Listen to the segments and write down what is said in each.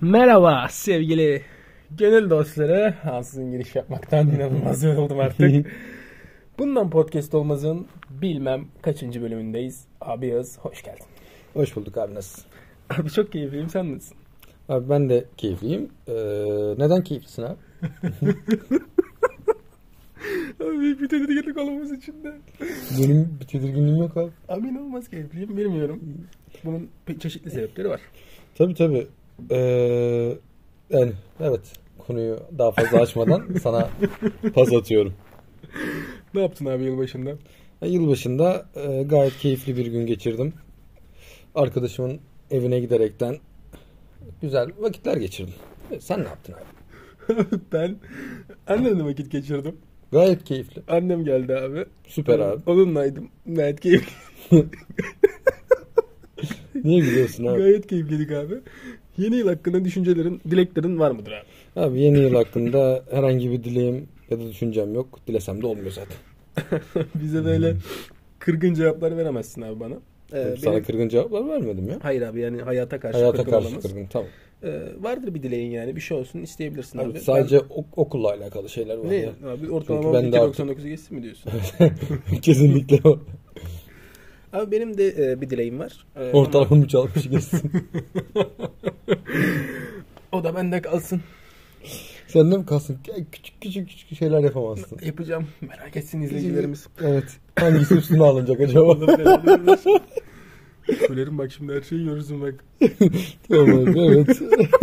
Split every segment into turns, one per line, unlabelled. Merhaba sevgili gönül dostları. Ansızın giriş yapmaktan inanılmaz yoruldum artık. Bundan podcast olmazın bilmem kaçıncı bölümündeyiz. Abi Yağız hoş geldin.
Hoş bulduk abi nasılsın?
Abi çok keyifliyim sen nasılsın?
Abi ben de keyifliyim. Ee, neden keyiflisin abi?
Abi bir tedirginlik olmamız için de.
Benim bir tedirginliğim yok abi.
Abi inanılmaz keyifliyim bilmiyorum. Bunun pe- çeşitli sebepleri var.
Tabii tabii. Ee, yani evet konuyu daha fazla açmadan sana pas atıyorum.
Ne yaptın abi yılbaşında?
Ya, Yılbaşında e, gayet keyifli bir gün geçirdim. Arkadaşımın evine giderekten güzel vakitler geçirdim. E, Sen ne yaptın abi?
ben annemle vakit geçirdim.
Gayet keyifli.
Annem geldi abi.
Süper abi.
Onunlaydım. Gayet keyifli.
Niye gülüyorsun abi?
Gayet keyifliydik abi. Yeni yıl hakkında düşüncelerin, dileklerin var mıdır abi?
Abi yeni yıl hakkında herhangi bir dileğim ya da düşüncem yok. Dilesem de olmuyor zaten.
Bize böyle kırgın cevaplar veremezsin abi bana. Ee,
Hep
benim-
Sana kırgın cevaplar vermedim ya.
Hayır abi yani hayata karşı
Hayata
kırgın
karşı
olamaz.
kırgın tamam.
Ee, vardır bir dileğin yani bir şey olsun isteyebilirsin abi.
Abi, sadece ok- okulla alakalı şeyler
Ben-
var.
ne
ya.
abi ortalama
ben de
2.99'u geçsin mi diyorsun?
Kesinlikle o.
abi benim de e, bir dileğim var. Ee,
Ortalama 360 geçsin.
ama O da bende kalsın.
Sen de mi kalsın? Ya Küçük küçük küçük şeyler yapamazsın.
Yapacağım. Merak etsin izleyicilerimiz.
Evet. Hangisi üstüne alınacak acaba?
Söylerim bak şimdi her şeyi yiyoruzum bak.
tamam abi, evet.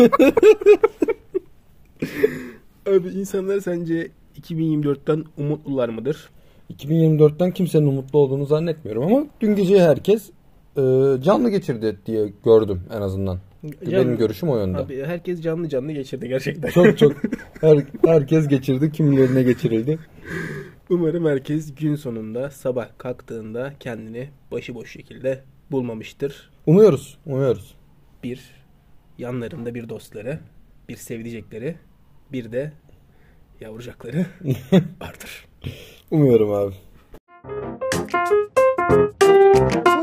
Abi insanlar sence 2024'ten umutlular mıdır?
2024'ten kimsenin umutlu olduğunu zannetmiyorum ama dün gece herkes e, canlı geçirdi diye gördüm en azından. Benim görüşüm o yönde.
Abi herkes canlı canlı geçirdi gerçekten.
Çok çok her, herkes geçirdi. Kimilerine geçirildi.
Umarım herkes gün sonunda sabah kalktığında kendini başıboş şekilde bulmamıştır.
Umuyoruz. Umuyoruz.
Bir yanlarında bir dostları, bir sevdicekleri, bir de yavrucakları vardır.
Umuyorum abi.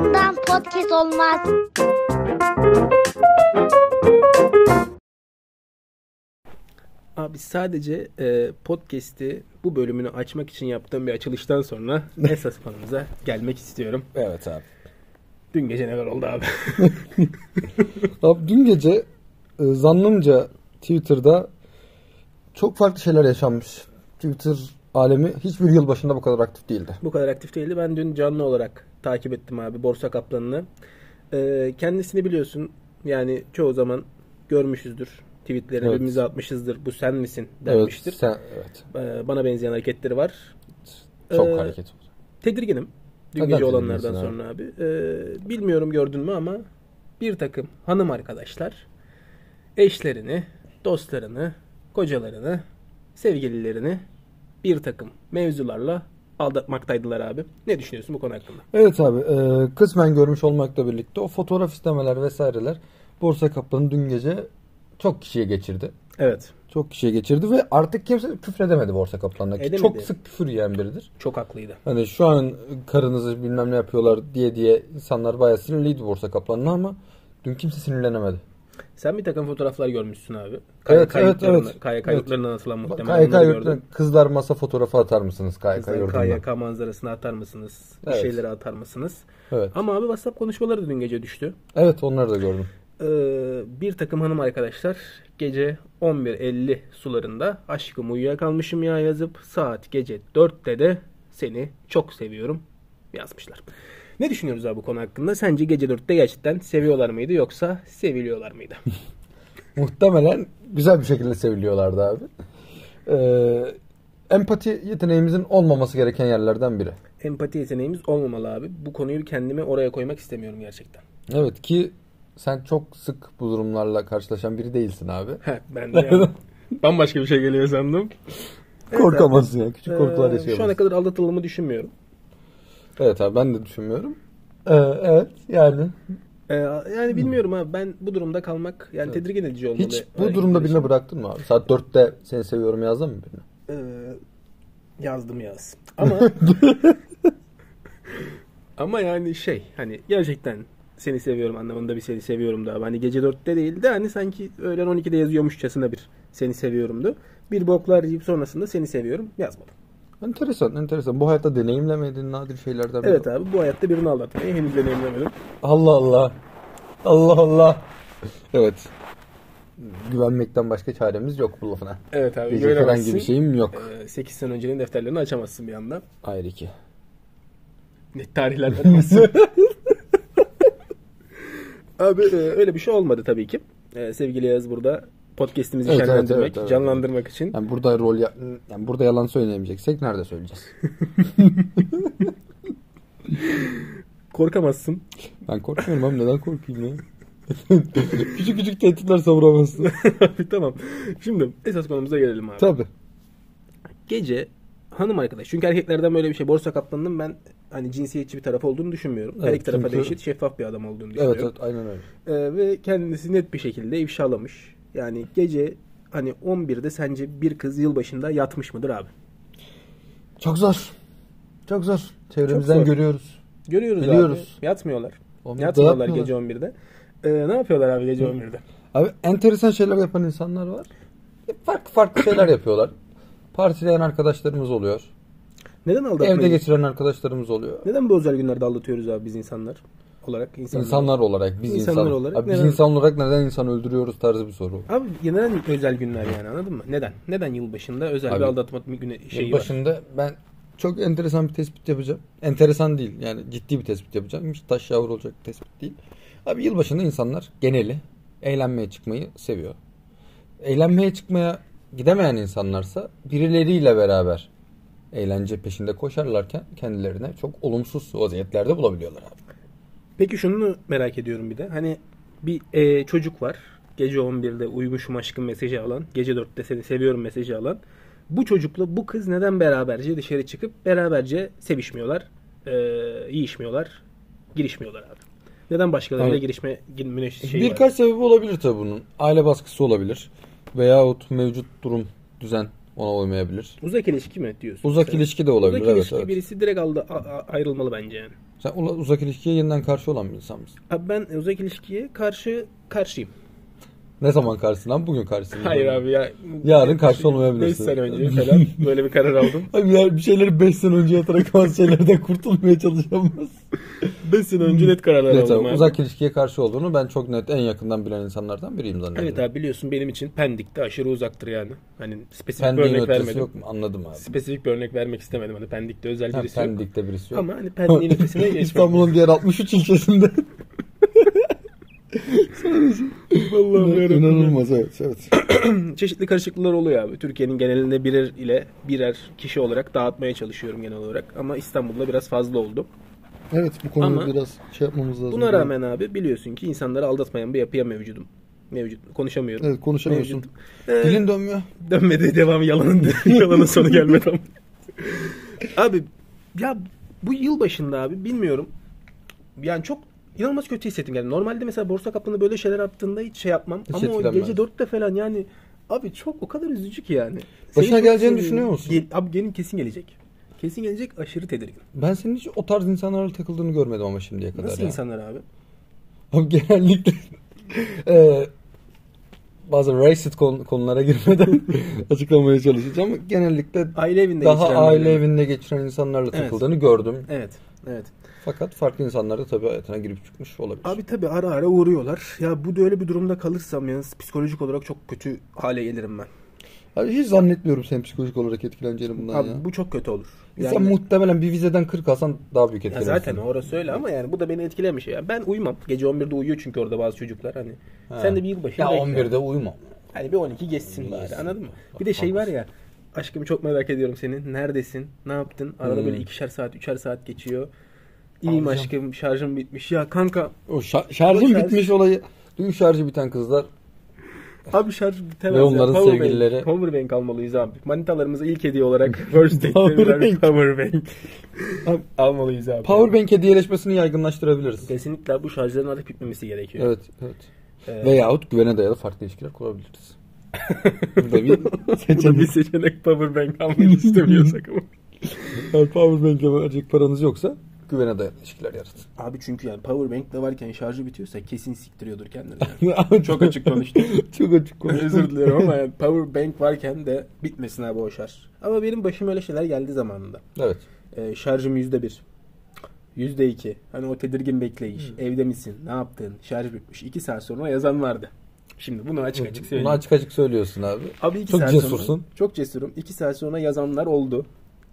Bundan podcast olmaz.
Abi sadece e, podcast'i bu bölümünü açmak için yaptığım bir açılıştan sonra esas konumuza gelmek istiyorum.
Evet abi.
Dün gece neler oldu abi?
Abi dün gece e, zannımca Twitter'da çok farklı şeyler yaşanmış. Twitter alemi hiçbir yıl başında bu kadar aktif değildi.
bu kadar aktif değildi. Ben dün canlı olarak takip ettim abi Borsa Kaplan'ını. Ee, kendisini biliyorsun. Yani çoğu zaman görmüşüzdür. Tweetlerini
Evet.
birbirimize atmışızdır. Bu sen misin denmiştir.
Evet, sen, evet.
Ee, bana benzeyen hareketleri var.
Çok
Ee,
hareket oldu.
Tedirginim. Dün
Neden
gece olanlardan
tedirginsin abi?
sonra abi. Ee, bilmiyorum gördün mü ama bir takım hanım arkadaşlar eşlerini, dostlarını, kocalarını, sevgililerini bir takım mevzularla aldatmaktaydılar abi. Ne düşünüyorsun bu konu hakkında?
Evet abi e, kısmen görmüş olmakla birlikte o fotoğraf istemeler vesaireler Borsa Kaplan'ı dün gece çok kişiye geçirdi.
Evet.
Çok kişiye geçirdi ve artık kimse küfredemedi Borsa Kaplan'daki.
Edemedi.
Çok sık küfür yiyen biridir.
Çok haklıydı.
Hani şu an karınızı bilmem ne yapıyorlar diye diye insanlar bayağı sinirliydi Borsa Kaplan'la ama dün kimse sinirlenemedi.
Sen bir takım fotoğraflar görmüşsün abi.
Evet, evet,
yurtlarından-
evet.
KYK
Evet.
yurtlarından atılan muhtemelen.
KYK
onları
yurtuna
gördüm.
kızlar masa fotoğrafı atar mısınız KYK
Sizler
yurduna?
KYK manzarasını atar mısınız? Bir
Evet.
şeyleri atar mısınız?
Evet.
Ama abi WhatsApp konuşmaları da dün gece düştü.
Evet onları da gördüm.
Ee, bir takım hanım arkadaşlar gece 11.50 sularında aşkım uyuyakalmışım ya yazıp saat gece 4'te de seni çok seviyorum yazmışlar. Ne düşünüyoruz abi bu konu hakkında? Sence gece 4'te gerçekten seviyorlar mıydı yoksa seviliyorlar mıydı?
Muhtemelen güzel bir şekilde seviliyorlardı abi. Ee, empati yeteneğimizin olmaması gereken yerlerden biri.
empati yeteneğimiz olmamalı abi. Bu konuyu kendimi oraya koymak istemiyorum gerçekten.
Evet ki sen çok sık bu durumlarla karşılaşan biri değilsin abi.
Heh, ben de yani bambaşka bir şey geliyor sandım.
Korkamazsın ya küçük korkular
Ee, şu
yaşayamazsın.
ana kadar aldatıldığımı düşünmüyorum.
Evet abi ben de düşünmüyorum. Ee, evet yani
Ee, yani bilmiyorum abi ben bu durumda kalmak yani tedirgin edici olmalı. şey.
Hiç bu durumda birine bıraktın mı abi? Saat 4'te seni seviyorum yazdın mı birine?
Ee, yazdım yaz. Ama Ama yani şey hani gerçekten seni seviyorum anlamında bir seni seviyorum da. Hani gece 4'te değil de hani sanki öğlen 12'de yazıyormuşçasına bir seni seviyorumdu. Bir boklar yiyip sonrasında seni seviyorum yazmadım.
Enteresan, enteresan. Bu hayatta deneyimlemediğin nadir şeylerden biri.
Evet abi bu hayatta birini aldatmayı henüz deneyimlemedim.
Allah Allah. Allah Allah. Evet. Güvenmekten başka çaremiz yok bu lafına.
Evet abi
Diyecek herhangi bir şeyim yok.
8 sene öncenin defterlerini açamazsın bir anda.
Ayrı ki.
Net tarihler vermezsin. abi e, öyle bir şey olmadı tabii ki. E, Sevgili Yağız burada podcast'imizi
Evet, evet,
şenlendirmek,
evet, evet.
canlandırmak için.
Yani burada rol ya- yani burada yalan söyleyemeyeceksek nerede söyleyeceğiz?
Korkamazsın.
Ben korkmuyorum abi neden korkayım ya? küçük küçük tehditler savuramazsın.
Abi tamam. Şimdi esas konumuza gelelim abi.
Tabii.
Gece hanım arkadaş. Çünkü erkeklerden böyle bir şey. Borsa kaplanının ben hani cinsiyetçi bir taraf olduğunu düşünmüyorum. Her
Evet,
iki tarafa da
çünkü-
eşit şeffaf bir adam olduğunu
Evet,
düşünüyorum.
evet aynen öyle.
Ee, ve kendisi net bir şekilde ifşalamış. Yani gece hani 11'de sence bir kız yılbaşında yatmış mıdır abi?
Çok zor. Çok zor. Çevremizden
Çok zor.
görüyoruz.
Görüyoruz
Biliyoruz.
abi. Yatmıyorlar.
11'de
Yatmıyorlar
yatmıyorlar.
gece 11'de. Ee, ne yapıyorlar abi gece 11'de?
Abi enteresan şeyler yapan insanlar var. E, Farklı farklı şeyler yapıyorlar. Partileyen arkadaşlarımız oluyor.
Neden
Evde
aldatmayı?
geçiren arkadaşlarımız oluyor.
Neden bu özel günlerde aldatıyoruz abi biz insanlar olarak? İnsanlar.
İnsanlar olarak biz
İnsanlar
insan,
olarak
Abi biz
neden-
insan olarak neden insan öldürüyoruz tarzı bir soru.
Abi neden özel günler yani anladın mı? Neden? Neden yılbaşında özel bir
Abi,
aldatma günü şeyi var?
başında ben çok enteresan bir tespit yapacağım. Enteresan değil yani ciddi bir tespit yapacağım. Hiç taş yavru olacak bir tespit değil. Abi yılbaşında insanlar geneli eğlenmeye çıkmayı seviyor. Eğlenmeye çıkmaya gidemeyen insanlarsa birileriyle beraber eğlence peşinde koşarlarken kendilerine çok olumsuz vaziyetlerde bulabiliyorlar abi.
Peki şunu merak ediyorum bir de. Hani bir e, çocuk var. Gece 11'de uyumuşum aşkım mesajı alan. Gece 4'te seni seviyorum mesajı alan. Bu çocukla bu kız neden beraberce dışarı çıkıp beraberce sevişmiyorlar? E, yiyişmiyorlar. Girişmiyorlar abi. Neden başkalarıyla
Evet.
girişme girme şeyi Şey var?
Birkaç sebebi olabilir tabii bunun. Aile baskısı olabilir. Veyahut mevcut durum, düzen ona uymayabilir.
Uzak ilişki mi diyorsun?
Uzak
sen?
ilişki de
Şey,
olabilir.
Uzak
evet,
ilişki
evet.
birisi direkt aldı, a- a- ayrılmalı bence yani.
Sen ula- uzak ilişkiye yeniden karşı olan bir insan mısın?
Abi ben uzak ilişkiye karşı karşıyım.
Ne zaman karşısın lan? Bugün karşısın.
Hayır abi ya.
Yarın karşı
Beş
olmayabilirsin.
sene önce falan böyle bir karar aldım.
Abi ya bir şeyleri 5 sene önce yatarak bazı şeylerden kurtulmaya çalışamaz.
5 sene önce net kararlar
Evet
aldım
abi,
abi.
uzak ilişkiye karşı olduğunu ben çok net en yakından bilen insanlardan biriyim zannediyorum.
Evet abi biliyorsun benim için Pendik'te aşırı uzaktır yani. Hani spesifik
Pendik'in
bir örnek
ötesi
vermedim.
yok mu? Anladım abi.
Spesifik bir örnek vermek istemedim. Hani Pendik'te özel
Hem
birisi yok.
Pendik'te birisi yok.
Ama hani Pendik'in ötesine geçmek.
İstanbul'un diğer 63 ilçesinde.
Vallahi yarabbim.
İnanılmaz evet. evet.
Çeşitli karışıklıklar oluyor abi. Türkiye'nin genelinde birer ile birer kişi olarak dağıtmaya çalışıyorum genel olarak. Ama İstanbul'da biraz fazla oldu.
evet bu konuda
Ama-
biraz şey yapmamız lazım.
Buna rağmen abi biliyorsun ki insanları aldatmayan bir yapıya mevcudum. Mevcut. Konuşamıyorum.
Evet konuşamıyorsun.
Mevcut. Ee,
Dilin dönmüyor.
Dönmedi devam yalanın yalanın sonu gelmedi ama. abi ya bu yıl başında abi bilmiyorum. Yani çok inanılmaz kötü hissettim yani. Normalde mesela borsa kaplanı böyle şeyler yaptığında hiç şey yapmam
Hiç
ama o
etkilenmez.
gece 4'te falan yani abi çok o kadar üzücü ki yani.
Başına
çok
geleceğini
seviyorum.
düşünüyor musun?
Gel- abi gelin kesin gelecek. Kesin gelecek aşırı tedirgin.
Ben senin hiç o tarz insanlarla takıldığını görmedim ama şimdiye kadar.
Nasıl
ya.
insanlar abi?
Abi genellikle eee, bazı racist kon- konulara girmeden açıklamaya çalışacağım. Genellikle
Aile evinde
daha
geçirenler
aile
yani.
evinde geçiren insanlarla
Evet.
takıldığını gördüm.
Evet. Evet.
Fakat farklı insanlar da tabii hayatına girip çıkmış olabilir.
Abi tabii ara ara uğruyorlar. Ya bu da öyle bir durumda kalırsam yani psikolojik olarak çok kötü hale gelirim ben.
Abi hiç zannetmiyorum senin psikolojik olarak etkileneceğini bundan
Abi
ya.
bu çok kötü olur.
Sen
Yani-
muhtemelen bir vizeden 40 alsan daha büyük
Ya
etkilenirsin.
zaten orası öyle ama yani bu da beni etkilemiş. Yani ben uyumam. Gece 11'de uyuyor çünkü orada bazı çocuklar hani. Sen de bir yılbaşı
Ya
bekle.
11'de uyuma.
Hani bir 12 geçsin bari
geçsin.
anladın mı? Bir de şey var ya. Aşkım çok merak ediyorum seni. Neredesin? Ne yaptın? Arada
Hmm.
böyle ikişer saat, üçer saat geçiyor. İyiyim
Alacağım.
aşkım şarjım bitmiş. Ya kanka
O şa- şarjın
Şarj-
bitmiş olayı. Dün şarjı biten kızlar
abi şarj bitemez.
Ve
ya.
onların
Powerbank-
sevgilileri-
Powerbank almalıyız abi. Manitalarımıza ilk hediye olarak first date'te birer
Powerbank.
powerbank
Abi-
almalıyız abi.
Powerbank hediyeleşmesini yaygınlaştırabiliriz.
Kesinlikle bu şarjların artık bitmemesi gerekiyor.
Evet, evet.
Ee,
Veyahut güvene dayalı farklı ilişkiler kurabiliriz. Burada bir
Bu da bir
seçenek.
seçenek powerbank almayı istemiyorsak ama.
Eğer Powerbank'e verecek paranız yoksa güvene dayalı ilişkiler yaratın.
Abi çünkü yani powerbank de varken şarjı bitiyorsa kesin siktiriyordur kendini. yani. Çok açık konuştum.
Çok açık konuştum.
Özür dilerim ama yani powerbank varken de bitmesin abi o şarj. Ama benim başıma öyle şeyler geldi zamanında.
Evet.
Ee, şarjım yüzde bir. Yüzde iki. Hani o tedirgin bekleyiş.
Hmm.
Evde misin? Ne yaptın? Şarj bitmiş. İki saat sonra yazan vardı. Şimdi bunu açık açık
Hmm. Bunu
söyleyeyim.
açık açık söylüyorsun abi.
Abi iki
Çok
saat Sonra,
cesursun.
çok cesurum. İki saat sonra yazanlar oldu.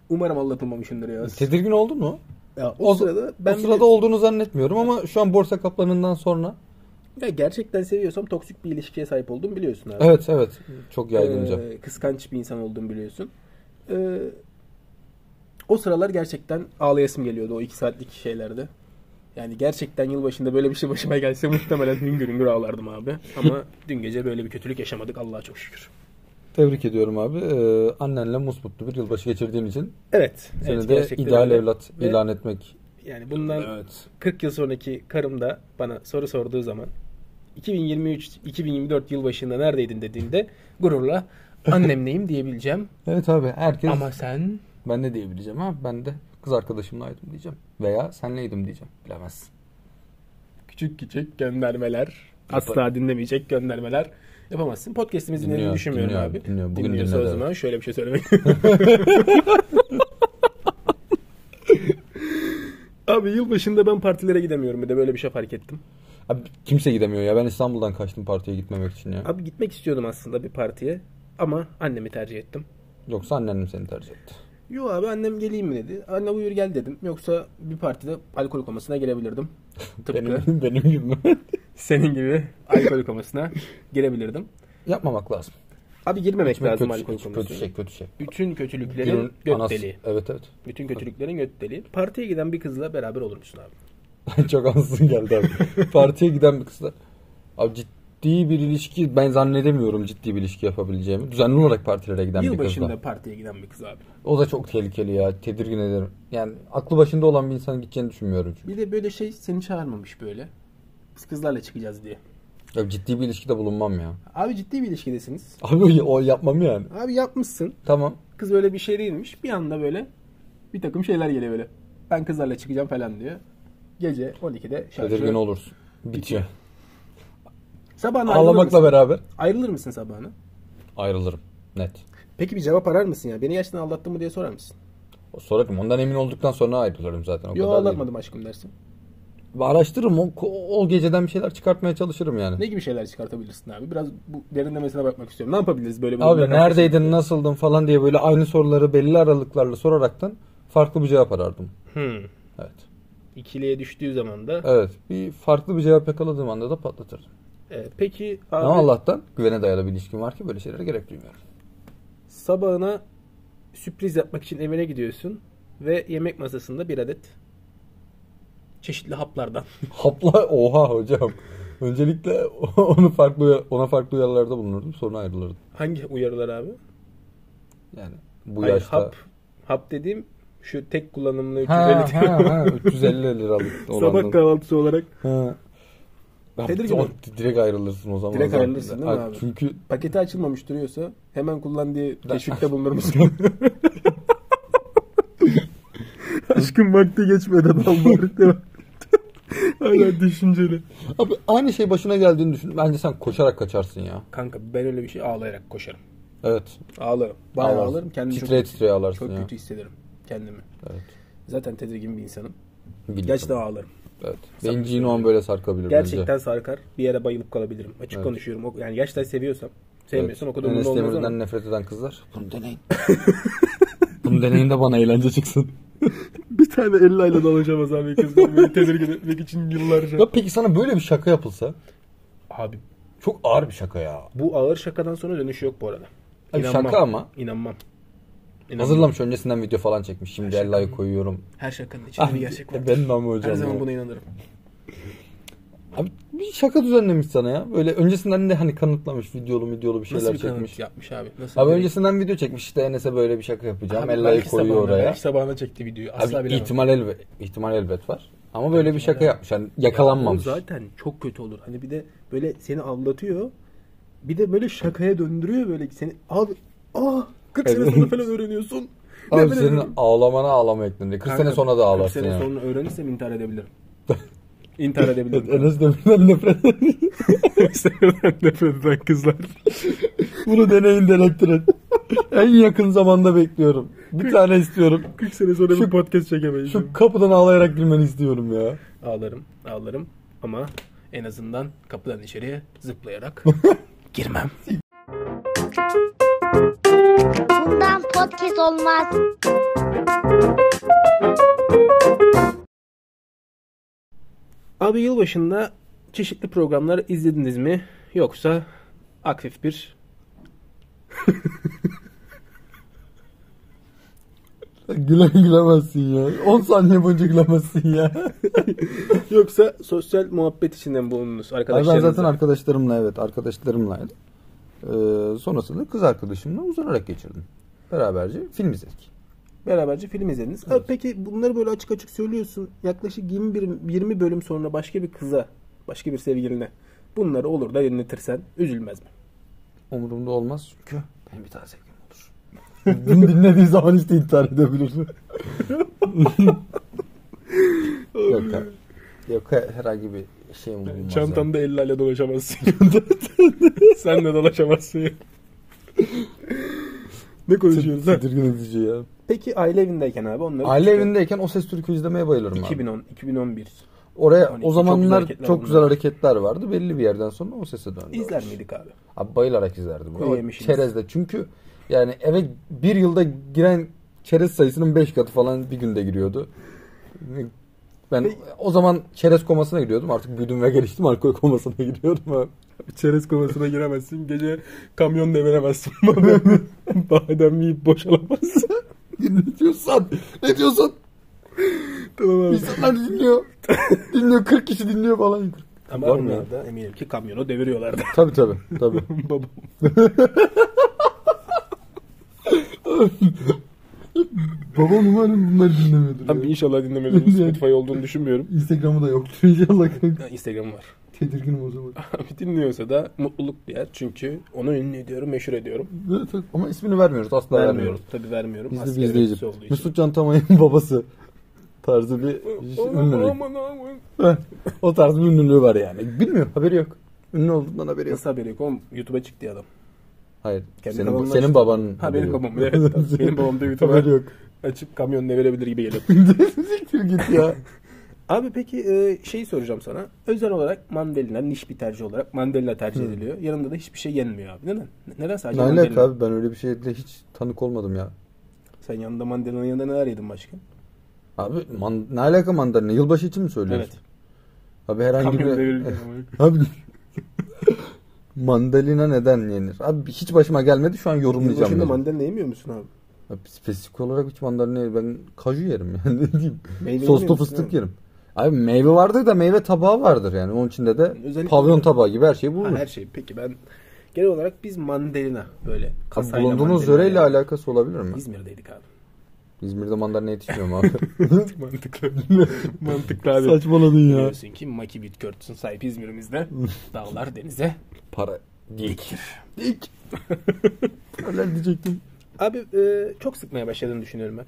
Umarım anlatılmamışımdır ya.
Tedirgin oldun mu?
ya o,
O-
sırada ben
o sırada
bile-
olduğunu zannetmiyorum ama şu an borsa kaplanından sonra
Ya gerçekten seviyorsam toksik bir ilişkiye sahip olduğumu biliyorsun abi.
evet evet çok yaygınca.
Ee, kıskanç bir insan olduğumu biliyorsun. Ee, o sıralar gerçekten ağlayasım geliyordu o iki saatlik şeylerde. Yani gerçekten yılbaşında böyle bir şey başıma gelse muhtemelen hüngür hüngür ağlardım abi. Ama dün gece böyle bir kötülük yaşamadık Allah'a çok şükür.
Tebrik ediyorum abi. Ee, annenle musmutlu bir yılbaşı geçirdiğin için
Evet.
seni
evet,
de
gerçekten
ideal
öyle.
evlat
Ve
ilan etmek.
Yani bundan
Evet.
40 yıl sonraki karım da bana soru sorduğu zaman 2023-2024 yılbaşında neredeydin dediğinde gururla annemleyim diyebileceğim.
Evet abi herkes
Ama sen
ben de diyebileceğim ha ben de kız arkadaşımlaydım diyeceğim veya senleydim diyeceğim bilemezsin.
küçük küçük göndermeler.
Yapar-
Asla dinlemeyecek göndermeler. Yapamazsın. Podcast'imizi dinlediğini
Dinliyor,
düşünmüyorum
dinliyor,
abi.
dinliyor. Bugün
Dinliyorsa
dinledi,
o zaman şöyle bir şey söylemek. abi yılbaşında ben partilere gidemiyorum bir de böyle bir şey fark ettim.
Abi kimse gidemiyor ya ben İstanbul'dan kaçtım partiye gitmemek için ya.
Abi gitmek istiyordum aslında bir partiye ama annemi tercih ettim.
Yoksa annem seni tercih etti.
Yo abi annem geleyim mi dedi. Anne buyur gel dedim. Yoksa bir partide alkol komasına gelebilirdim. Tıpkı
Benim, benim gibi.
senin gibi alkol komasına gelebilirdim.
Yapmamak lazım.
Abi girmemek
Kötü,
lazım
kötü,
alkol
kötü,
komasına.
şey kötü şey.
Bütün kötülüklerin
Günün
göt
anası-
deliği.
Evet evet.
Bütün kötülüklerin göt deliği. Partiye giden bir kızla beraber olur musun abi?
Çok ansızın geldi abi. Partiye giden bir kızla. Abi ciddi bir ilişki ben zannedemiyorum ciddi bir ilişki yapabileceğimi. Düzenli olarak partilere giden bir
Yılbaşında
kızla.
partiye giden bir kız abi.
O da çok tehlikeli ya. Tedirgin ederim. Yani aklı başında olan bir insanın gideceğini düşünmüyorum çünkü.
Bir de böyle şey seni çağırmamış böyle. Biz kızlarla çıkacağız diye.
Ya ciddi bir ilişkide bulunmam ya.
Abi ciddi bir ilişkidesiniz.
Abi o, o yapmam yani.
Abi yapmışsın.
Tamam.
Kız öyle bir şey değilmiş. Bir anda böyle bir takım şeyler geliyor böyle. Ben kızlarla çıkacağım falan diyor. Gece 12'de
Tedirgin
şarjı.
olursun. Bitiyor.
Sabahına ayrılır
Ağlamakla
mısın?
beraber
Ayrılır mısın sabahına?
ayrılırım. Net.
Peki bir cevap arar mısın ya? Beni gerçekten aldattın mı diye sorar mısın?
Sorarım. Ondan emin olduktan sonra ayrılırım zaten. O
Yo
kadar değil.
aldatmadım aşkım dersin.
Ve Araştırırım. O, o geceden bir şeyler çıkartmaya çalışırım yani.
Ne gibi şeyler çıkartabilirsin abi? Biraz bu derinlemesine bakmak istiyorum. Ne yapabiliriz böyle bir
Abi
durumda
neredeydin, nasıldın falan diye böyle aynı soruları belli aralıklarla soraraktan farklı bir cevap arardım.
karşılaştın? Hmm.
Evet.
İkiliye düştüğü zaman da.
Evet. Bir farklı bir cevap yakaladığım anda da patlatırdım.
Ee, peki abi
Ama Allah'tan güvene dayalı bir ilişkim var ki böyle şeylere gerek duymuyorum.
sabahına sürpriz yapmak için evine gidiyorsun ve yemek masasında bir adet çeşitli haplardan.
Hapla oha hocam. Öncelikle onu farklı ona farklı uyarılarda bulunurdum sonra ayrılırdım.
Hangi uyarılar abi?
Yani bu
Hayır,
yaşta.
hap hap dediğim şu tek kullanımlı 350
Ha,
diyorum.
ha, ha, 350 liralık
sabah
olandan.
kahvaltısı olarak
Ha. Ya,
Tedirgin
o-
ol.
direkt ayrılırsın o zaman.
Direkt
zaten.
ayrılırsın değil mi abi?
Çünkü
paketi açılmamış duruyorsa hemen kullan diye teşvikte bulunur musun? Aşkım vakti geçmeden al bari. Hala düşünceli.
Abi aynı şey başına geldiğini düşün. Bence sen koşarak kaçarsın ya.
Kanka ben öyle bir şey ağlayarak koşarım.
Evet.
Ağlarım. Bayağı
Ağlarsın.
ağlarım. Kendimi çok,
Titreye titreye ağlarsın
çok
ya.
kötü hissederim kendimi.
Evet.
Zaten tedirgin bir insanım.
Biliyorum.
Gerçekten ağlarım.
Evet. Benim Gino an böyle sarkabilir
Gerçekten
bence.
sarkar. Bir yere bayılıp kalabilirim. Açık
Evet.
konuşuyorum. O- Yani gerçekten seviyorsam. Sevmiyorsan o kadar
Enes
umurumda olmaz ama.
Demir'den nefret eden kızlar. Bunu deneyin. Bunu deneyin de bana eğlence çıksın.
Bir tane elle ile dolaşamaz abi kızdan. Beni tedirgin etmek için yıllarca.
Ya peki sana böyle bir şaka yapılsa?
Abi
Çok ağır bir şaka ya.
Bu ağır şakadan sonra dönüşü yok bu arada.
Abi şaka ama.
İnanmam. İnanmam.
Hazırlamış öncesinden video falan çekmiş. Şimdi el like koyuyorum.
Her şakanın içinde Ah,
Ah,
bir gerçek var.
benim ama
Her
hocam.
zaman
ya.
buna inanırım.
Abi bir şaka düzenlemiş sana ya. Böyle öncesinden de hani kanıtlamış videolu videolu bir şeyler
Nasıl bir
çekmiş.
kanıt yapmış abi? Nasıl
Abi
bir-
öncesinden video çekmiş işte Enes'e böyle bir şaka yapacağım.
Abi
el
belki
like koyuyor
sabahına,
oraya.
belki sabahına çekti videoyu. Asla
Abi
bilemem.
ihtimal elbet, ihtimal elbet var. Ama böyle bir şaka yapmış. Yani yakalanmamış.
Bu zaten çok kötü olur. Hani bir de böyle seni avlatıyor. Bir de böyle şakaya döndürüyor böyle seni. Abi ah 40 sene sonra falan öğreniyorsun.
Abi senin ağlamana ağlama eklenir. 40 sene sonra da ağlarsın
sene
yani.
sonra öğrenirsem intihar edebilirim. intihar
Evet,
edebilirim.
Enes Demir'den nefret
Sevden nefret eden kızlar.
Bunu deneyin denettirin. en yakın zamanda bekliyorum. Bir tane istiyorum.
40 sene sonra
Şu-
bir podcast çekemeyiz.
Şu kapıdan ağlayarak girmeni istiyorum ya.
Ağlarım, ağlarım ama en azından kapıdan içeriye zıplayarak girmem.
Bundan podcast olmaz.
Abi yılbaşında çeşitli programlar izlediniz mi? Yoksa aktif bir
Gülen gülemezsin ya. 10 saniye boyunca gülemezsin ya.
yoksa sosyal muhabbet içinden bulundunuz
Abi ben
arkadaşlarınızla.
zaten arkadaşlarımla evet arkadaşlarımlaydım. Ee, sonrasında kız arkadaşımla uzanarak geçirdim. Beraberce film izledik.
Beraberce film izlediniz. Abi peki bunları böyle açık açık söylüyorsun. Yaklaşık 21, 20 bölüm sonra başka bir kıza, başka bir sevgiline bunları olur da dinletirsen üzülmez mi?
Umurumda olmaz çünkü benim bir tane sevgilim olur. Bunu dinlediği zaman işte intihar edebilir. yok ya. Yok ya, herhangi bir şeyim olmaz.
Çantamda ellerle dolaşamazsın. Sen de dolaşamazsın. ne
yani.
konuşuyoruz lan?
Tedirgin edici ya.
Peki aile evindeyken abi onları...
Aile evindeyken o ses türkü izlemeye bayılırım abi.
2010, 2011.
Oraya
12,
o
çok
zamanlar
güzel
çok
hareketler bunlar.
güzel, hareketler vardı. Belli bir yerden sonra o sese döndü.
İzler miydik abi?
Abi bayılarak izlerdim.
Koyu
Ama
yemişiniz.
Çerezle. Çünkü yani eve bir yılda giren çerez sayısının 5 katı falan bir günde giriyordu. Ben o zaman çerez komasına giriyordum. Artık büyüdüm ve geliştim. Alkol komasına giriyorum abi.
Çerez kovasına giremezsin. Gece kamyon deviremezsin. Badem yiyip boşalamazsın.
ne diyorsan? Ne diyorsan?
tamam abi.
İnsanlar dinliyor. dinliyor. 40 kişi dinliyor falan.
Ama
Var mı
onlar da eminim ki kamyonu deviriyorlardı.
Tabii tabii. tabii.
Babam.
Babam umarım bunları dinlemiyordur.
Abi inşallah dinlemediğimiz Spotify olduğunu düşünmüyorum.
Instagram'ı da yoktur inşallah kanka.
Ha, Instagram var.
Tedirginim o zaman.
Abi dinliyorsa da mutluluk duyar. Çünkü onu ünlü ediyorum, meşhur ediyorum.
Ama ismini vermiyoruz. Asla vermiyoruz.
Vermiyorum. Tabii vermiyorum.
Gizli
Askeri
bir
birisi
izleyici.
olduğu için.
Mesut Can Tamay'ın babası tarzı bir
Aman
ünlülük.
aman aman.
o tarz bir ünlülüğü var yani. Bilmiyor. Haberi yok. Ünlü olduğundan haberi yok.
Nasıl haberi yok oğlum? YouTube'a çıktı ya adam.
Hayır.
Kendi
senin,
kanalına
senin
çıktı.
babanın
Ha benim babam.
yok.
Evet, tabii. benim babam da YouTube'a
haberi yok.
açıp kamyon devirebilir gibi geliyor.
Siktir git ya.
Abi peki e, şeyi soracağım sana. Özel olarak mandalina niş bir tercih olarak mandalina tercih
Hmm.
ediliyor. Yanında da hiçbir şey yenmiyor abi. Neden? Neden sadece
ne alaka
mandalina?
abi ben öyle bir şeyle hiç tanık olmadım ya.
Sen yanında mandalinanın yanında neler yedin başka?
Abi man, ne alaka mandalina? Yılbaşı için mi söylüyorsun?
Evet.
Abi herhangi
Kamyon
bir...
devirirken.
Abi mandalina neden yenir? Abi hiç başıma gelmedi şu an yorumlayacağım.
Yılbaşında
dedim.
mandalina yemiyor musun abi?
Ya Spesifik olarak hiç mandalina yerim. Ben kaju yerim yani ne diyeyim.
Meyve yemiyor
Soslu
musun
fıstık
abi?
yerim. Abi meyve vardır da meyve tabağı vardır yani. Onun içinde de
Özellikle-
pavyon tabağı gibi her şey
Ha,
bulunur.
her şey. Peki ben genel olarak biz mandalina böyle.
Abi
kasayla
bulunduğunuz
mandalina
yöreyle
yedik.
alakası olabilir mi?
İzmir'deydik abi.
İzmir'de mandalina yetişmiyor mu abi?
Mantıklı. Mantıklı abi.
Saçmaladın
Biliyorsun ki Maki Bitkörtüs'ün sahibi İzmir'imizde. Dağlar denize.
Para dikir. Dik. Neler diyecektim.
Abi e, çok sıkmaya başladığını düşünüyorum ben.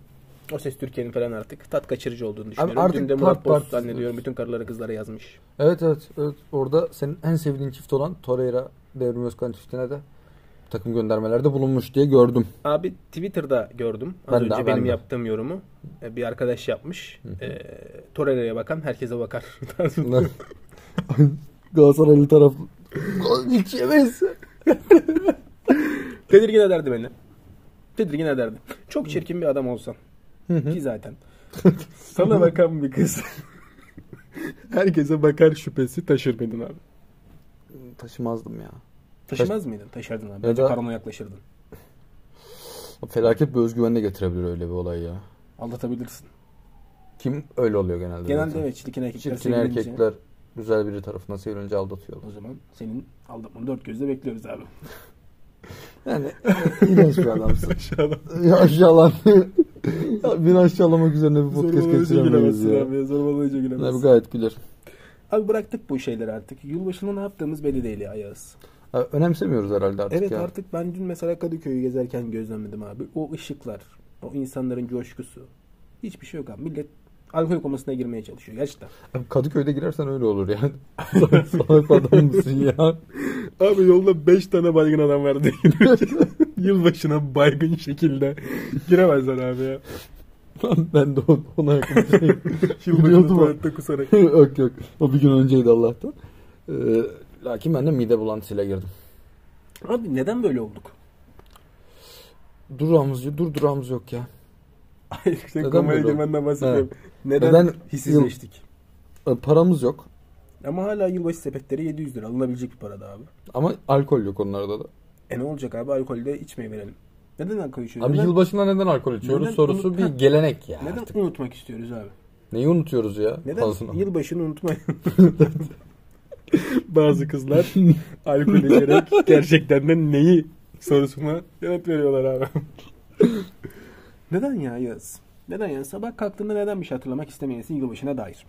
O ses Türkiye'nin falan artık tat kaçırıcı olduğunu düşünüyorum.
artık
Dün de Murat
part-
Boz
part-
zannediyorum bütün karıları kızlara yazmış.
Evet evet. evet. Orada senin en sevdiğin çift olan Torreira Devrim Özkan çiftine de takım göndermelerde bulunmuş diye gördüm.
Abi Twitter'da gördüm. Az
Ben de,
önce
ben
benim
de.
yaptığım yorumu e, bir arkadaş yapmış. E, Torreira'ya bakan herkese bakar.
Galatasaraylı taraf hiç yemez.
Tedirgin ederdi beni. Tedirgin ederdi. Çok çirkin bir adam olsam. Ki zaten. Sana bakan bir kız. Herkese bakar şüphesi taşır mıydın abi?
Taşımazdım ya.
Taşımaz mıydın? Taşırdın abi.
Ya
Bence
da-
paranoya yaklaşırdın.
Felaket bir özgüven de getirebilir öyle bir olay ya.
Aldatabilirsin.
Kim öyle oluyor genelde.
Genelde
zaten.
evet çirkin erkekler
Çirkin
sevilince-
erkekler güzel biri tarafından sevilince aldatıyor.
O zaman senin aldatmanı dört gözle bekliyoruz abi.
Yani iğrenç bir adamsın.
Aşağıdan.
Aşağılan. Ya Beni aşağılamak üzerine bir podcast geçiremeyiz ya. Abi.
Zorbalayıcı
abi gayet güler.
Abi bıraktık bu şeyleri artık. Yılbaşında ne yaptığımız belli değil ya Yağız.
Abi önemsemiyoruz herhalde artık
Evet
ya.
artık ben dün mesela Kadıköy'ü gezerken gözlemledim abi. O ışıklar, O insanların coşkusu. Hiçbir şey yok abi. Millet alkol komasına girmeye çalışıyor gerçekten.
Abi Kadıköy'de girersen öyle olur yani. Salak adam mısın ya?
Abi yolda 5 tane baygın adam vardı. Yılbaşına baygın şekilde giremezler abi ya.
Lan ben de o- ona yakın bir şey biliyordum ama.
kusarak.
yok yok. O bir gün önceydi Allah'tan. Ee, lakin ben de mide bulantısıyla girdim.
Abi neden böyle olduk?
Durağımız yok. Dur durağımız yok ya.
Hayır işte
Neden
komaya
böyle olduk?
girmenden bahsediyorum. Neden,
Neden
hissizleştik?
Ee, paramız yok.
Ama hala yılbaşı sepetleri 700 lira alınabilecek bir parada abi.
Ama alkol yok onlarda da.
E ne olacak abi alkolde içmeye verelim. Neden alkol içiyoruz?
Abi
neden,
yılbaşında neden alkol içiyoruz
Neden
sorusu
unut-
bir
Heh.
gelenek ya
neden
artık.
unutmak istiyoruz abi?
Neyi unutuyoruz ya?
Neden
fazlasını?
yılbaşını unutmayın? Bazı kızlar alkol içerek gerçekten de neyi sorusuna yanıt veriyorlar abi. neden ya Yağız? Neden ya? Sabah kalktığında neden bir şey hatırlamak istemeyesin yılbaşına dair?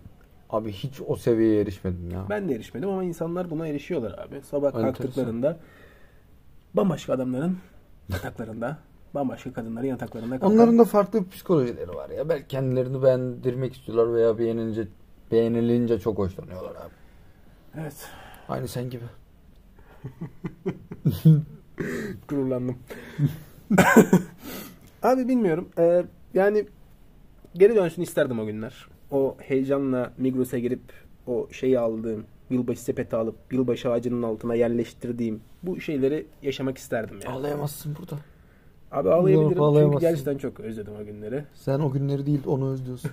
Abi hiç o seviyeye erişmedim ya.
Ben de erişmedim ama insanlar buna erişiyorlar abi. Sabah
Enteresan.
kalktıklarında bambaşka adamların yataklarında, bambaşka kadınların yataklarında kalkan-
Onların da farklı psikolojileri var ya. Belki kendilerini beğendirmek istiyorlar veya beğenince beğenilince çok hoşlanıyorlar abi.
Evet,
Aynı sen gibi.
gururlandım. abi bilmiyorum. Ee, yani geri dönsün isterdim o günler. O heyecanla Migros'a girip o şeyi aldığım, yılbaşı sepeti alıp yılbaşı ağacının altına yerleştirdiğim bu şeyleri yaşamak isterdim yani.
Ağlayamazsın burada.
Abi ağlayabilirim
Yok,
çünkü
ağlayamazsın.
gerçekten çok özledim o günleri.
Sen o günleri değil onu özlüyorsun.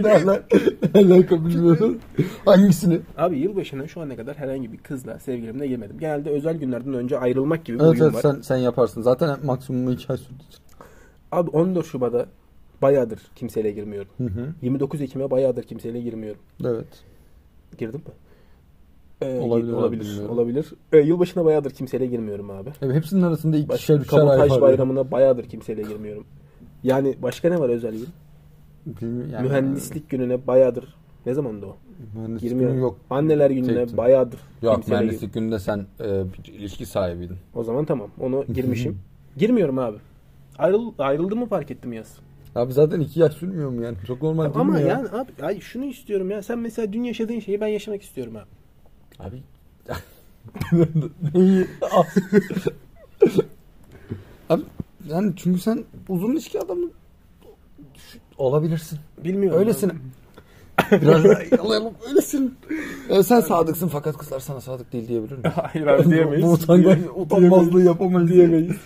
ne ala- ne alaka bilmiyorum. Hangisini?
Abi yılbaşına şu ana kadar herhangi bir kızla sevgilimle girmedim. Genelde özel günlerden önce ayrılmak gibi bir
Evet
huyum
evet
var.
sen, sen yaparsın. Zaten maksimum 2 ay sürdü.
Abi 14 Şubat'a bayağıdır kimseyle girmiyorum.
Hı hı.
29 Ekim'e bayağıdır kimseyle girmiyorum.
Evet.
Girdim mi? Ee,
Olabilir
gir-
abi,
olabilir.
bilmiyorum.
olabilir. Ee, yılbaşına bayağıdır kimseyle girmiyorum abi.
Evet, hepsinin arasında
Başka
ikişer üçer ay var.
Kabataş
ya.
bayramına bayağıdır kimseyle girmiyorum. Yani başka ne var özel gün?
Bilmiyorum yani.
Mühendislik gününe bayağıdır. Ne zamandı o?
Mühendislik
Girmiyorum.
günü yok.
Anneler gününe
Çektim.
bayağıdır
Yok
kimseyle gir-
mühendislik gününde sen e, bir ilişki sahibiydin.
O zaman tamam. Onu girmişim. Girmiyorum abi. Ayrıl, ayrıldım mı fark ettim yaz.
Abi zaten 2 yaş sürmüyor mu yani? Çok normal değil
Ama
mi ya?
yani abi ay şunu istiyorum ya. Sen mesela dün yaşadığın şeyi ben yaşamak istiyorum abi.
Abi. Neyi? Ah. Abi yani çünkü sen uzun ilişki adamı olabilirsin.
Bilmiyorum.
Öylesin.
abi.
Biraz daha yalayalım. Öylesin. Ya sen sadıksın fakat kızlar sana sadık değil diyebilir miyim?
Hayır abi diyemeyiz.
Bu utangaç,
Diye-
utanmazlığı yapamayız.
Diyemeyiz.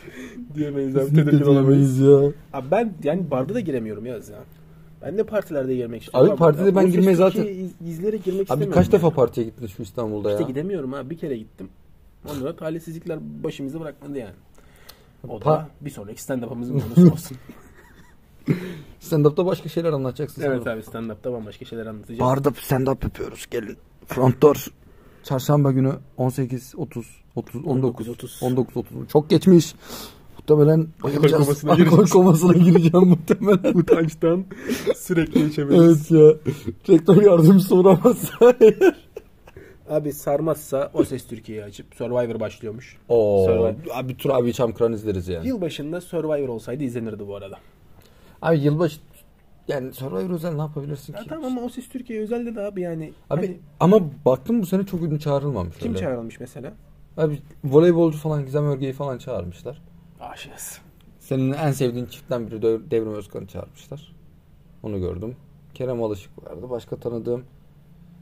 diyemeyiz abi.
Kesinlikle
Tedirgin olamayız.
diyemeyiz ya.
Abi ben yani barda da giremiyorum yaz ya. Ben de partilerde girmek istiyorum.
Abi partide ben
o seçtiği
girmeyi zaten-
iz- izlere girmek
Abi
istemiyorum.
kaç defa
ya.
partiye gittin şu İstanbul'da
İşte
ya?
gidemiyorum abi. Bir kere gittim. Onlara talihsizlikler başımızı bırakmadı yani. O
Pa-
da bir sonraki stand-up'ımızın konusu olsun.
Stand-up'ta başka şeyler anlatacaksın.
evet
sanırım.
abi stand-up'ta bambaşka şeyler anlatacağız.
Barda stand-up yapıyoruz gelin. Front door. Çarşamba günü 18, 30, 30, 19,
19.30.
19, 30. Çok geçmiş. Muhtemelen bayılacağız.
komasına
Alkol
gireceğiz.
komasına gireceğim muhtemelen.
Utançtan sürekli içemeyiz.
evet ya. Rektör yardımcısı uğramazsa eğer.
Abi sarmazsa O Ses Türkiye'yi açıp Survivor başlıyormuş.
Oo,
Survivor.
abi bir tur abi çamkıran izleriz yani.
Yılbaşında Survivor olsaydı izlenirdi bu arada.
Abi yılbaşı yani Survivor özel ne yapabilirsin ki?
Ya tamam ama O Ses Türkiye özelde de abi yani.
Abi
hani
ama baktım bu sene çok ünlü çağrılmamış.
kim
öyle.
çağrılmış mesela?
Abi voleybolcu falan Gizem Örge'yi falan çağırmışlar.
Aşığız.
Senin en sevdiğin çiftten biri Dev- Devrim Özkan'ı çağırmışlar. Onu gördüm. Kerem Alışık vardı. Başka tanıdığım.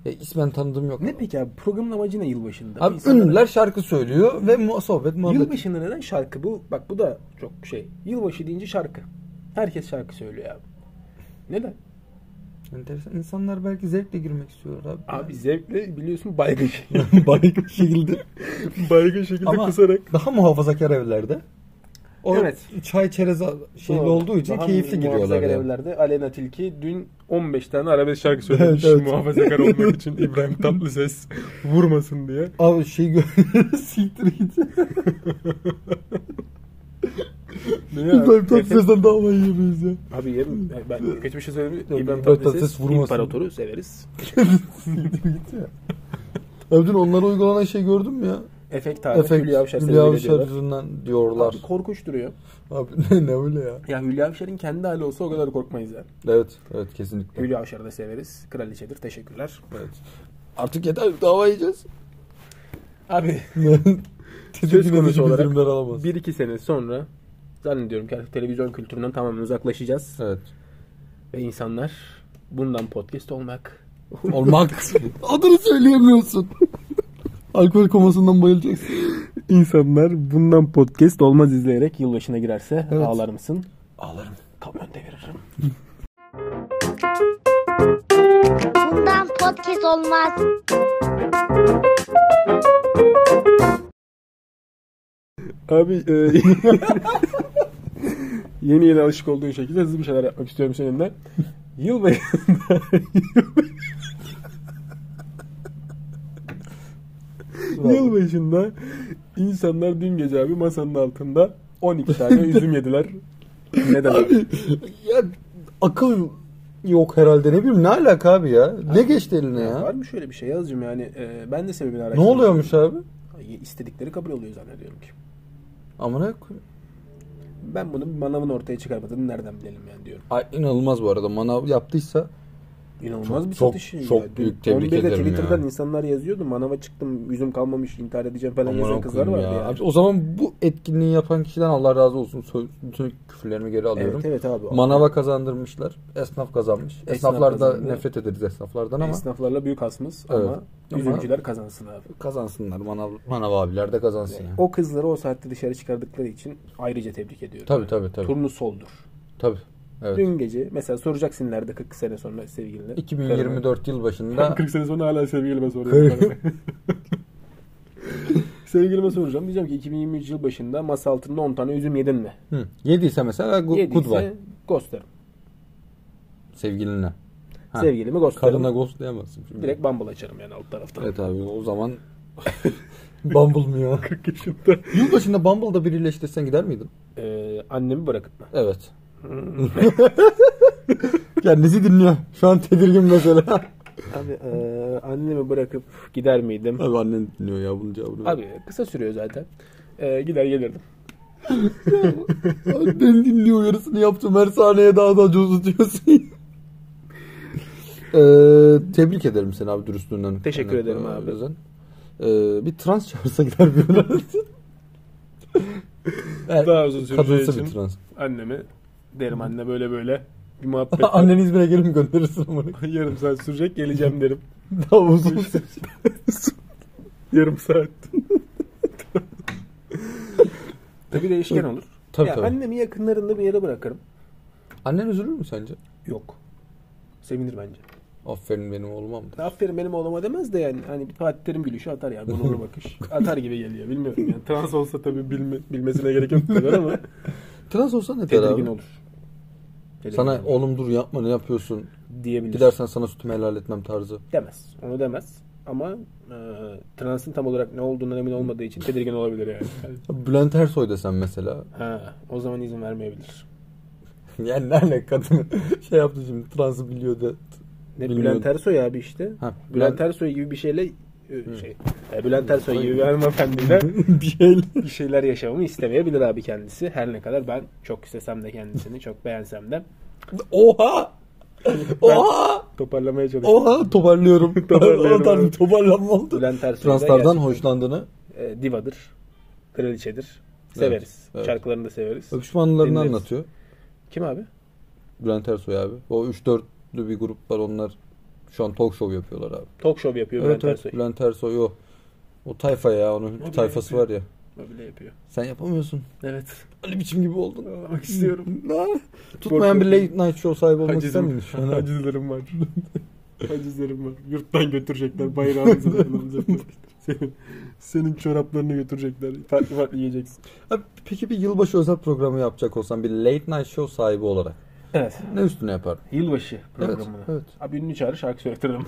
Ya ismen tanıdığım yok.
Ne peki abi programın amacı ne yılbaşında?
Abi
İnsanlara-
ünlüler şarkı söylüyor ve mu- sohbet muhabbet.
Yılbaşında neden şarkı bu? Bak bu da çok şey. Yılbaşı deyince şarkı. Herkes şarkı söylüyor abi. Neden?
Enteresan. İnsanlar belki zevkle girmek istiyorlar abi.
Abi zevkle biliyorsun baygın şekilde.
Baygın şekilde.
baygın şekilde
Ama daha muhafazakar evlerde. O
Evet.
çay çerez şeyli olduğu için
Daha
keyifli giriyorlar.
Muhafazakar
Yani.
evlerde Alena Tilki dün 15 tane arabesk şarkı
söylemiş Evet, evet. muhafazakar olmak
için İbrahim Tatlıses vurmasın diye.
Abi şey gö- siktir git. İbrahim Tatlıses'ten daha iyi yemeyiz ya.
Abi yerim. Ben kötü bir şey söylemiyorum.
İbrahim
İbrahim
Tatlıses
Tatlıses
vurmasın.
imparatoru severiz.
Siktir git ya. Abi dün onlara uygulanan şey gördün mü ya?
Efekt abi.
Efekt
Hülya Avşar
Hülya
sebebiyle
Avşar
diyorlar.
yüzünden diyorlar.
Abi korkunç duruyor.
Abi, ne, ne öyle ya?
Ya Hülya Avşar'ın kendi hali olsa o kadar korkmayız yani.
Evet, evet kesinlikle.
Hülya Avşar'ı da severiz. Kraliçedir. Teşekkürler.
Evet. Artık yeter dava yiyeceğiz.
Abi
Tedirgin
konusu
edici
olarak
bildirimler alamaz.
bir iki sene sonra zannediyorum ki artık televizyon kültüründen tamamen uzaklaşacağız.
Evet.
Ve insanlar bundan podcast olmak
Olmak. Adını söyleyemiyorsun. Alkol komasından bayılacaksın.
insanlar bundan podcast olmaz izleyerek yılbaşına girerse
Evet.
ağlar mısın?
Ağlarım.
Kamyon deviririm.
Bundan podcast olmaz.
Abi e, yeni yeni alışık olduğun şekilde hızlı bir şeyler yapmak istiyorum seninle. Yıl bayılında Yıl başında insanlar dün gece abi masanın altında 12 tane üzüm yediler. Neden abi?
Ya akıl yok herhalde ne bileyim ne alaka abi ya? Ne geçti eline
Var
ya?
mı şöyle bir şey yazıcım yani e, ben de sebebini
Ne
araştırdım.
oluyormuş abi?
İstedikleri kabul oluyor zannediyorum ki.
Amına koyayım.
Ben bunu manavın ortaya çıkarmadığını nereden bilelim yani diyorum.
Ay inanılmaz bu arada. Manav yaptıysa
İnanılmaz
Çok-
bir
çok-
satış. ya.
çok
Dün
büyük tebrik
11'de
ederim
Twitter'dan
ya.
insanlar yazıyordu. Manava çıktım, yüzüm kalmamış, intihar edeceğim falan yazan
amına
kızlar
koyayım
vardı
ya.
yani.
Abi, o zaman bu etkinliği yapan kişiden Allah razı olsun. Sö- Bütün küfürlerimi geri alıyorum.
Evet evet abi.
Manava kazandırmışlar. Esnaf kazanmış.
Esnaf
Esnaflarda
kazandı.
nefret ederiz esnaflardan ama
Esnaflarla büyük hasmız
Evet.
ama
Ama-
üzümcüler kazansın abi.
kazansınlar. Manav, manav abiler de kazansın. ya.
O kızları o saatte dışarı çıkardıkları için ayrıca tebrik ediyorum.
Tabii tabii tabii.
Turnu soldur.
Tabii. Evet.
Dün gece mesela soracaksın ileride 40 sene sonra sevgiline.
2024 yıl başında
Karına. 40 sene sonra hala sevgilime soruyorum. sevgilime soracağım. Diyeceğim ki 2023 yıl başında masa altında 10 tane üzüm yedin mi?
Hı. Yediyse mesela gu- goodbye
Yediyse gösterim.
sevgiline. Ha.
Sevgilimi gösterim.
Karına ghost diyemezsin. Şimdi.
Direkt Bumble açarım yani alt taraftan.
Evet abi o zaman Bumble mı ya?
40 yaşında.
Yılbaşında Bumble'da birleştirsen gider miydin?
Ee, annemi bırakıp mı?
Evet. Kendisi dinliyor. Şu an tedirgin mesela.
Abi ee, annemi bırakıp gider miydim?
Abi annen dinliyor ya bunu cevabını. Abi.
Abi kısa sürüyor zaten. Ee, gider gelirdim.
Annen dinliyor uyarısını yaptım. Her sahneye daha da coz diyorsun. Ee, tebrik ederim seni abi dürüstlüğünden.
Teşekkür
kaynaklı
ederim abi.
özen. Ee, bir trans çağırsa gider bir ona. Evet,
Daha uzun süreceği
Kadınsı
için.
bir trans.
Annemi derim anne böyle böyle bir muhabbet.
Annen İzmir'e gelir mi gönderirsin onu?
Yarım saat sürecek geleceğim derim.
Daha uzun sürecek.
Yarım saat. Tabii değişken olur.
Tabii,
ya
tabii.
annemi yakınlarında bir yere bırakırım.
Annen üzülür mü sence?
Yok. Sevinir bence.
Aferin benim oğlum
Aferin benim oğluma demez de yani hani bir Fatih Terim gülüşü atar yani onurlu bakış. Atar gibi geliyor bilmiyorum yani. Trans olsa tabii bilme, bilmesine gerek yok bu kadar ama
Trans olsa ne der
tedirgin
abi?
olur. Tedirgin
Sana
olur.
oğlum dur yapma ne yapıyorsun?
diyebilir.
Gidersen sana sütümü helal etmem tarzı.
Demez. Onu demez. Ama e, transın tam olarak ne olduğundan emin olmadığı için tedirgin olabilir yani. Yani,
Bülent Ersoy desen mesela.
ha, o zaman izin vermeyebilir.
Yani ne alaka kadın şey yaptı şimdi transı biliyor da.
Ne
Bilmiyorum.
Bülent Ersoy abi işte.
Ha,
Bülent
Bülent-
Ersoy gibi bir şeyle e, şey e, Bülent Ersoy gibi bir hanımefendiyle
bir şey.
bir şeyler yaşamamı istemeyebilir abi kendisi. Her ne kadar ben çok istesem de kendisini çok beğensem de
Oha! Oha!
toparlamaya çalışıyorum.
Oha! Toparlıyorum.
Toparlıyorum.
o tarz bir toparlanma oldu.
Bülent Ersoy da
Translardan
gerçekten,
hoşlandığını
e, divadır. Kraliçedir. Severiz.
evet.
Şarkılarını da severiz.
öpüşme anılarını
Dinleriz.
anlatıyor.
Kim abi?
Bülent Ersoy abi. O 3-4'lü bir grup var onlar. Şu an talk show yapıyorlar abi.
Talk show yapıyor
Evet
Bülent
evet
Ersoy.
Bülent Ersoy o. O tayfa ya onun bir tayfası var ya.
O bile yapıyor.
Sen yapamıyorsun.
Evet.
Ali biçim gibi oldun.
Ağlamak istiyorum.
Tutmayan bir late night show sahibi olmak ister miydin şu an? abi?
Acizlerim var. Acizlerim var. Yurttan götürecekler. Bayrağını zaten alacaklar. Senin, senin çoraplarını götürecekler. Farklı farklı yiyeceksin.
Abi Peki bir yılbaşı özel programı yapacak olsan bir late night show sahibi olarak
Evet.
ne üstüne yapardın?
Yılbaşı
Evet,
programını.
evet.
Abi ünlü çağırır şarkı söyletirdim.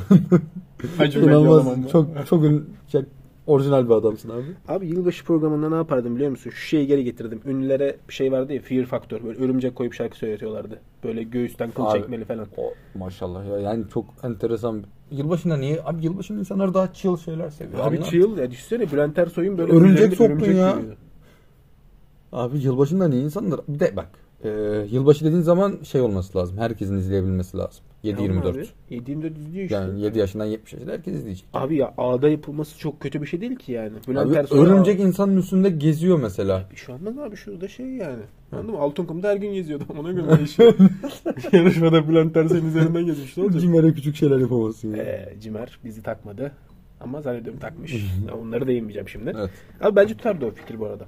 Hacı
İnanılmaz çok çok ün- şey, orijinal bir adamsın abi.
Abi yılbaşı programında ne yapardım biliyor musun? Şu şeyi geri getirdim. Ünlülere bir şey vardı ya Fear Factor. Böyle örümcek koyup şarkı söyletiyorlardı. Böyle göğüsten kıl
Abi.
çekmeli falan.
O maşallah ya yani çok enteresan Yılbaşında niye? Abi yılbaşında insanlar daha chill şeyler seviyor.
Abi
Anlar.
çığıl ya düşünsene Bülent Ersoy'un böyle
Örümcek
üzerinde
soktun ya.
yürüyor.
Abi yılbaşında niye insanlar? Bir de bak e, yılbaşı dediğin zaman şey olması lazım. Herkesin izleyebilmesi lazım.
Tamam abi,
7-24.
7-24 izliyor işte.
Yani 7 yaşından 70 yaşında herkes izleyecek.
Abi ya ağda yapılması çok kötü bir şey değil ki yani. Bülent
Abi,
Ersoy
örümcek insanın üstünde geziyor mesela.
Bir şey olmaz abi şurada şey yani. Anladın mı? Altın kumda her gün geziyordu. Ona göre işte. Yarışmada Bülent Ersoy'un üzerinden gezmiş. Ne olacak?
Cimere küçük şeyler yapamazsın ya.
Ee, Cimer bizi takmadı. Ama zannediyorum takmış. Ya Onları da yemeyeceğim şimdi.
Evet.
Abi bence tutardı o fikir bu arada.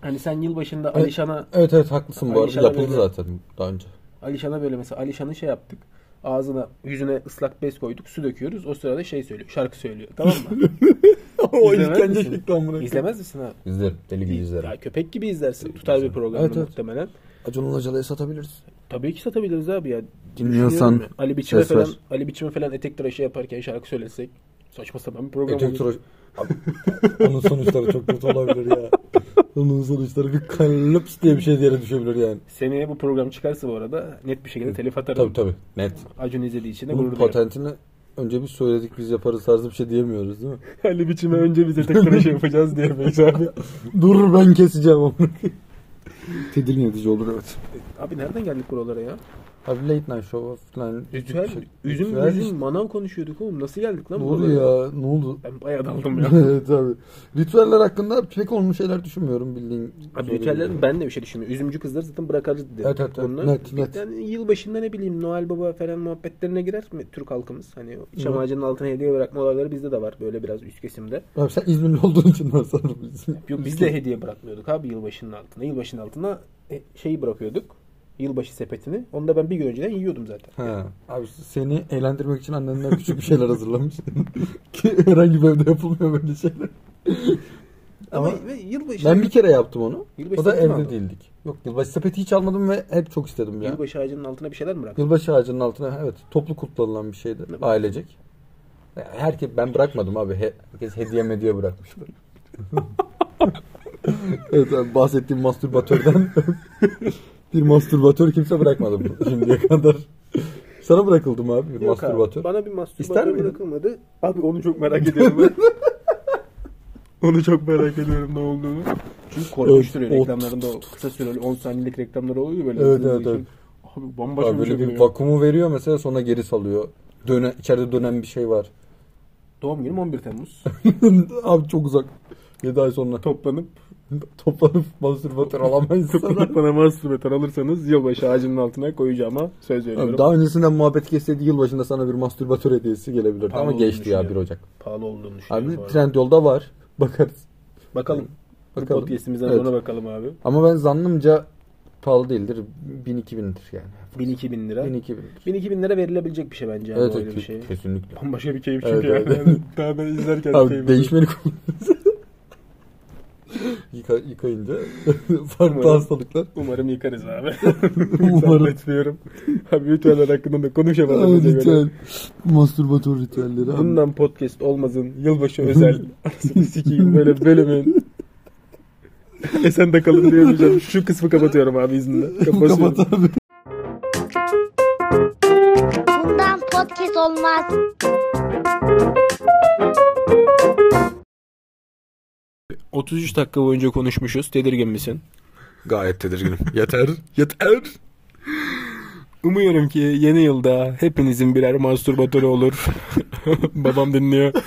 Hani sen yılbaşında Alişan'a
Evet evet haklısın bu arada.
Alişan'a
Yapıldı
böyle-
zaten daha önce.
Alişan'a böyle mesela Alişan'ı şey yaptık. Ağzına, yüzüne ıslak bez koyduk, su döküyoruz. O sırada şey söylüyor, şarkı söylüyor. Tamam mı?
o
İzlemez
işkence
misin?
şekli amına.
İzlemez misin ha?
İzlerim. Deli gibi izlerim.
Ya köpek gibi izlersin. Tutar bir programı
Evet, evet.
muhtemelen.
Acun'un hocalığı satabiliriz.
Tabii ki satabiliriz abi ya.
Dinliyorsan
Düşünüyorum ya. Ali biçime
ses ver.
falan Ali biçime falan etek tıraşı yaparken şarkı söylesek saçma sapan bir program
Etek
olur.
tıraş... Abi, onun sonuçları çok kötü olabilir ya. Onun sonuçları bir kalıps diye bir şey diye düşebilir yani.
Seneye bu program çıkarsa bu arada net bir şekilde telif atarım.
Tabii tabii. Net.
Acun izlediği için de
Bunun
gurur duyarım.
patentini önce biz söyledik biz yaparız tarzı bir şey diyemiyoruz değil mi?
Ali biçime önce bize etek tıraşı yapacağız diyemeyiz abi.
Dur ben keseceğim onu. Tedirgin edici olur evet.
Abi nereden geldik buralara ya?
Abi late night show falan.
Ritüel,
Şey-
üzüm
ritüel
üzüm
işte.
manav konuşuyorduk oğlum. Nasıl geldik lan
Ne
buralara?
oldu ya? Ne oldu?
Ben bayağı daldım ya.
evet abi. Ritüeller hakkında pek olmuş şeyler düşünmüyorum bildiğin.
Abi ritüellerin ben de bir şey düşünmüyorum. Üzümcü kızları zaten bırakırız dedi.
Evet, evet, evet.
Onlar
Net,
bir-
net.
Yani yılbaşında ne bileyim Noel Baba falan muhabbetlerine girer mi Türk halkımız? Hani o çam
Evet.
ağacının altına hediye bırakma olayları bizde de var. Böyle biraz üst kesimde.
Abi sen İzmirli olduğun için ben sana bilsin.
Yok biz de hediye bırakmıyorduk abi yılbaşının altına. Yılbaşının altına e, şeyi bırakıyorduk. Yılbaşı sepetini. Onu da ben bir gün önceden yiyordum zaten.
Ha, abi seni eğlendirmek için annenler küçük bir şeyler hazırlamış. Ki herhangi bir evde yapılmıyor böyle şeyler.
Ama,
Ama
ve yılbaşı,
ben bir kere yaptım onu.
Yılbaşı
o da
sepeti mi
evde
aldın?
değildik. Yok yılbaşı sepeti hiç almadım ve hep çok istedim ya. Yılbaşı,
yılbaşı ağacının altına bir şeyler mi bıraktın?
ağacının altına evet toplu kutlanılan bir şeydi ailecek. Ya Herkes ben bırakmadım abi. He- Herkes hediye medya bırakmıştı. evet abi, bahsettiğim mastürbatörden bir mastürbatör kimse bırakmadı bu şimdiye kadar. Sana bırakıldım abi bir
Yok abi,
mastürbatör.
Bana bir
İster
mastürbatör
miydin?
bırakılmadı. Abi onu çok merak ediyorum ben. onu çok merak ediyorum ne olduğunu. Çünkü korkmuştur
Evet,
öyle
o-
reklamlarında o kısa süreli 10 saniyelik reklamları oluyor böyle.
Evet,
hızlı
evet,
geçiyor.
evet.
Abi bambaşka
Abi
bir şey
böyle bir
görüyorum.
vakumu veriyor mesela sonra geri salıyor. Döne, içeride dönen bir şey var.
Doğum günüm 11 Temmuz.
abi çok uzak. 7 ay sonra
Toplanıp
toplanıp mastürbatör alamayız sana.
toplanıp bana mastürbatör alırsanız yılbaşı ağacının altına koyacağıma söz veriyorum.
Abi daha öncesinden muhabbet kesseydi yılbaşında sana bir mastürbatör hediyesi gelebilirdi
Pahalı
ama
olduğunu
geçti ya 1
düşünüyorum.
Ocak.
Pahalı olduğunu düşünüyorum.
Abi
bu arada.
trend yolda şey var. Bakarız.
Bakalım.
Bakalım.
Bu podcastimizden
Evet.
sonra bakalım abi.
Ama ben zannımca pahalı değildir. 1000-2000'dir yani.
1000-2000 lira.
1000-2000'dir.
1000-2000 lira verilebilecek bir şey bence. Yani
Evet,
öyle
evet
bir şey.
kesinlikle.
Bambaşka bir keyif
Evet,
çünkü yani.
evet.
yani. Daha ben izlerken
Abi
keyif
değişmeni kullanırız. Yıka, yıkayınca farklı
Umarım.
hastalıklar.
Umarım yıkarız abi.
Umarım.
Zannetmiyorum. Abi ritüeller hakkında da konuşamadım. bize göre.
Ritüel. Mastürbatör ritüelleri. abi.
Bundan podcast olmazın yılbaşı özel anasını sikeyim böyle bölümün. Esen de kalın diyemeyeceğim. Şu kısmı kapatıyorum abi izninle. Kapatıyorum.
Kapat abi.
Bundan podcast olmaz.
dakika boyunca konuşmuşuz. Tedirgin misin?
Gayet tedirginim. Yeter. Yeter.
Umuyorum ki yeni yılda hepinizin birer mastürbatörü olur. Babam dinliyor.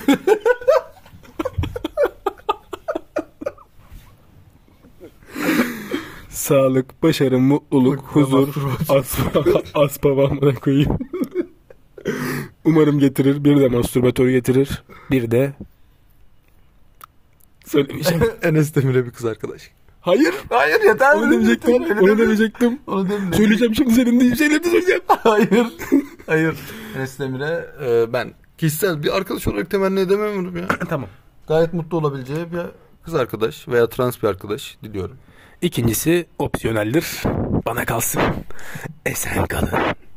Sağlık, başarı, mutluluk, huzur, aspa, aspa bağımına koyayım. Umarım getirir. Bir de mastürbatör getirir. Bir de söylemeyeceğim.
Enes Demir'e bir kız arkadaş.
Hayır.
Hayır yeter.
Onu demeyecektim. Onu demeyecektim.
Onu demeyecektim.
Söyleyeceğim şimdi senin de şeylerini söyleyeceğim.
Hayır. Hayır. Enes Demir'e e, ben kişisel bir arkadaş olarak temenni edemiyorum ya.
Tamam.
Gayet mutlu olabileceği bir kız arkadaş veya trans bir arkadaş diliyorum.
İkincisi opsiyoneldir. Bana kalsın. Esen kalın.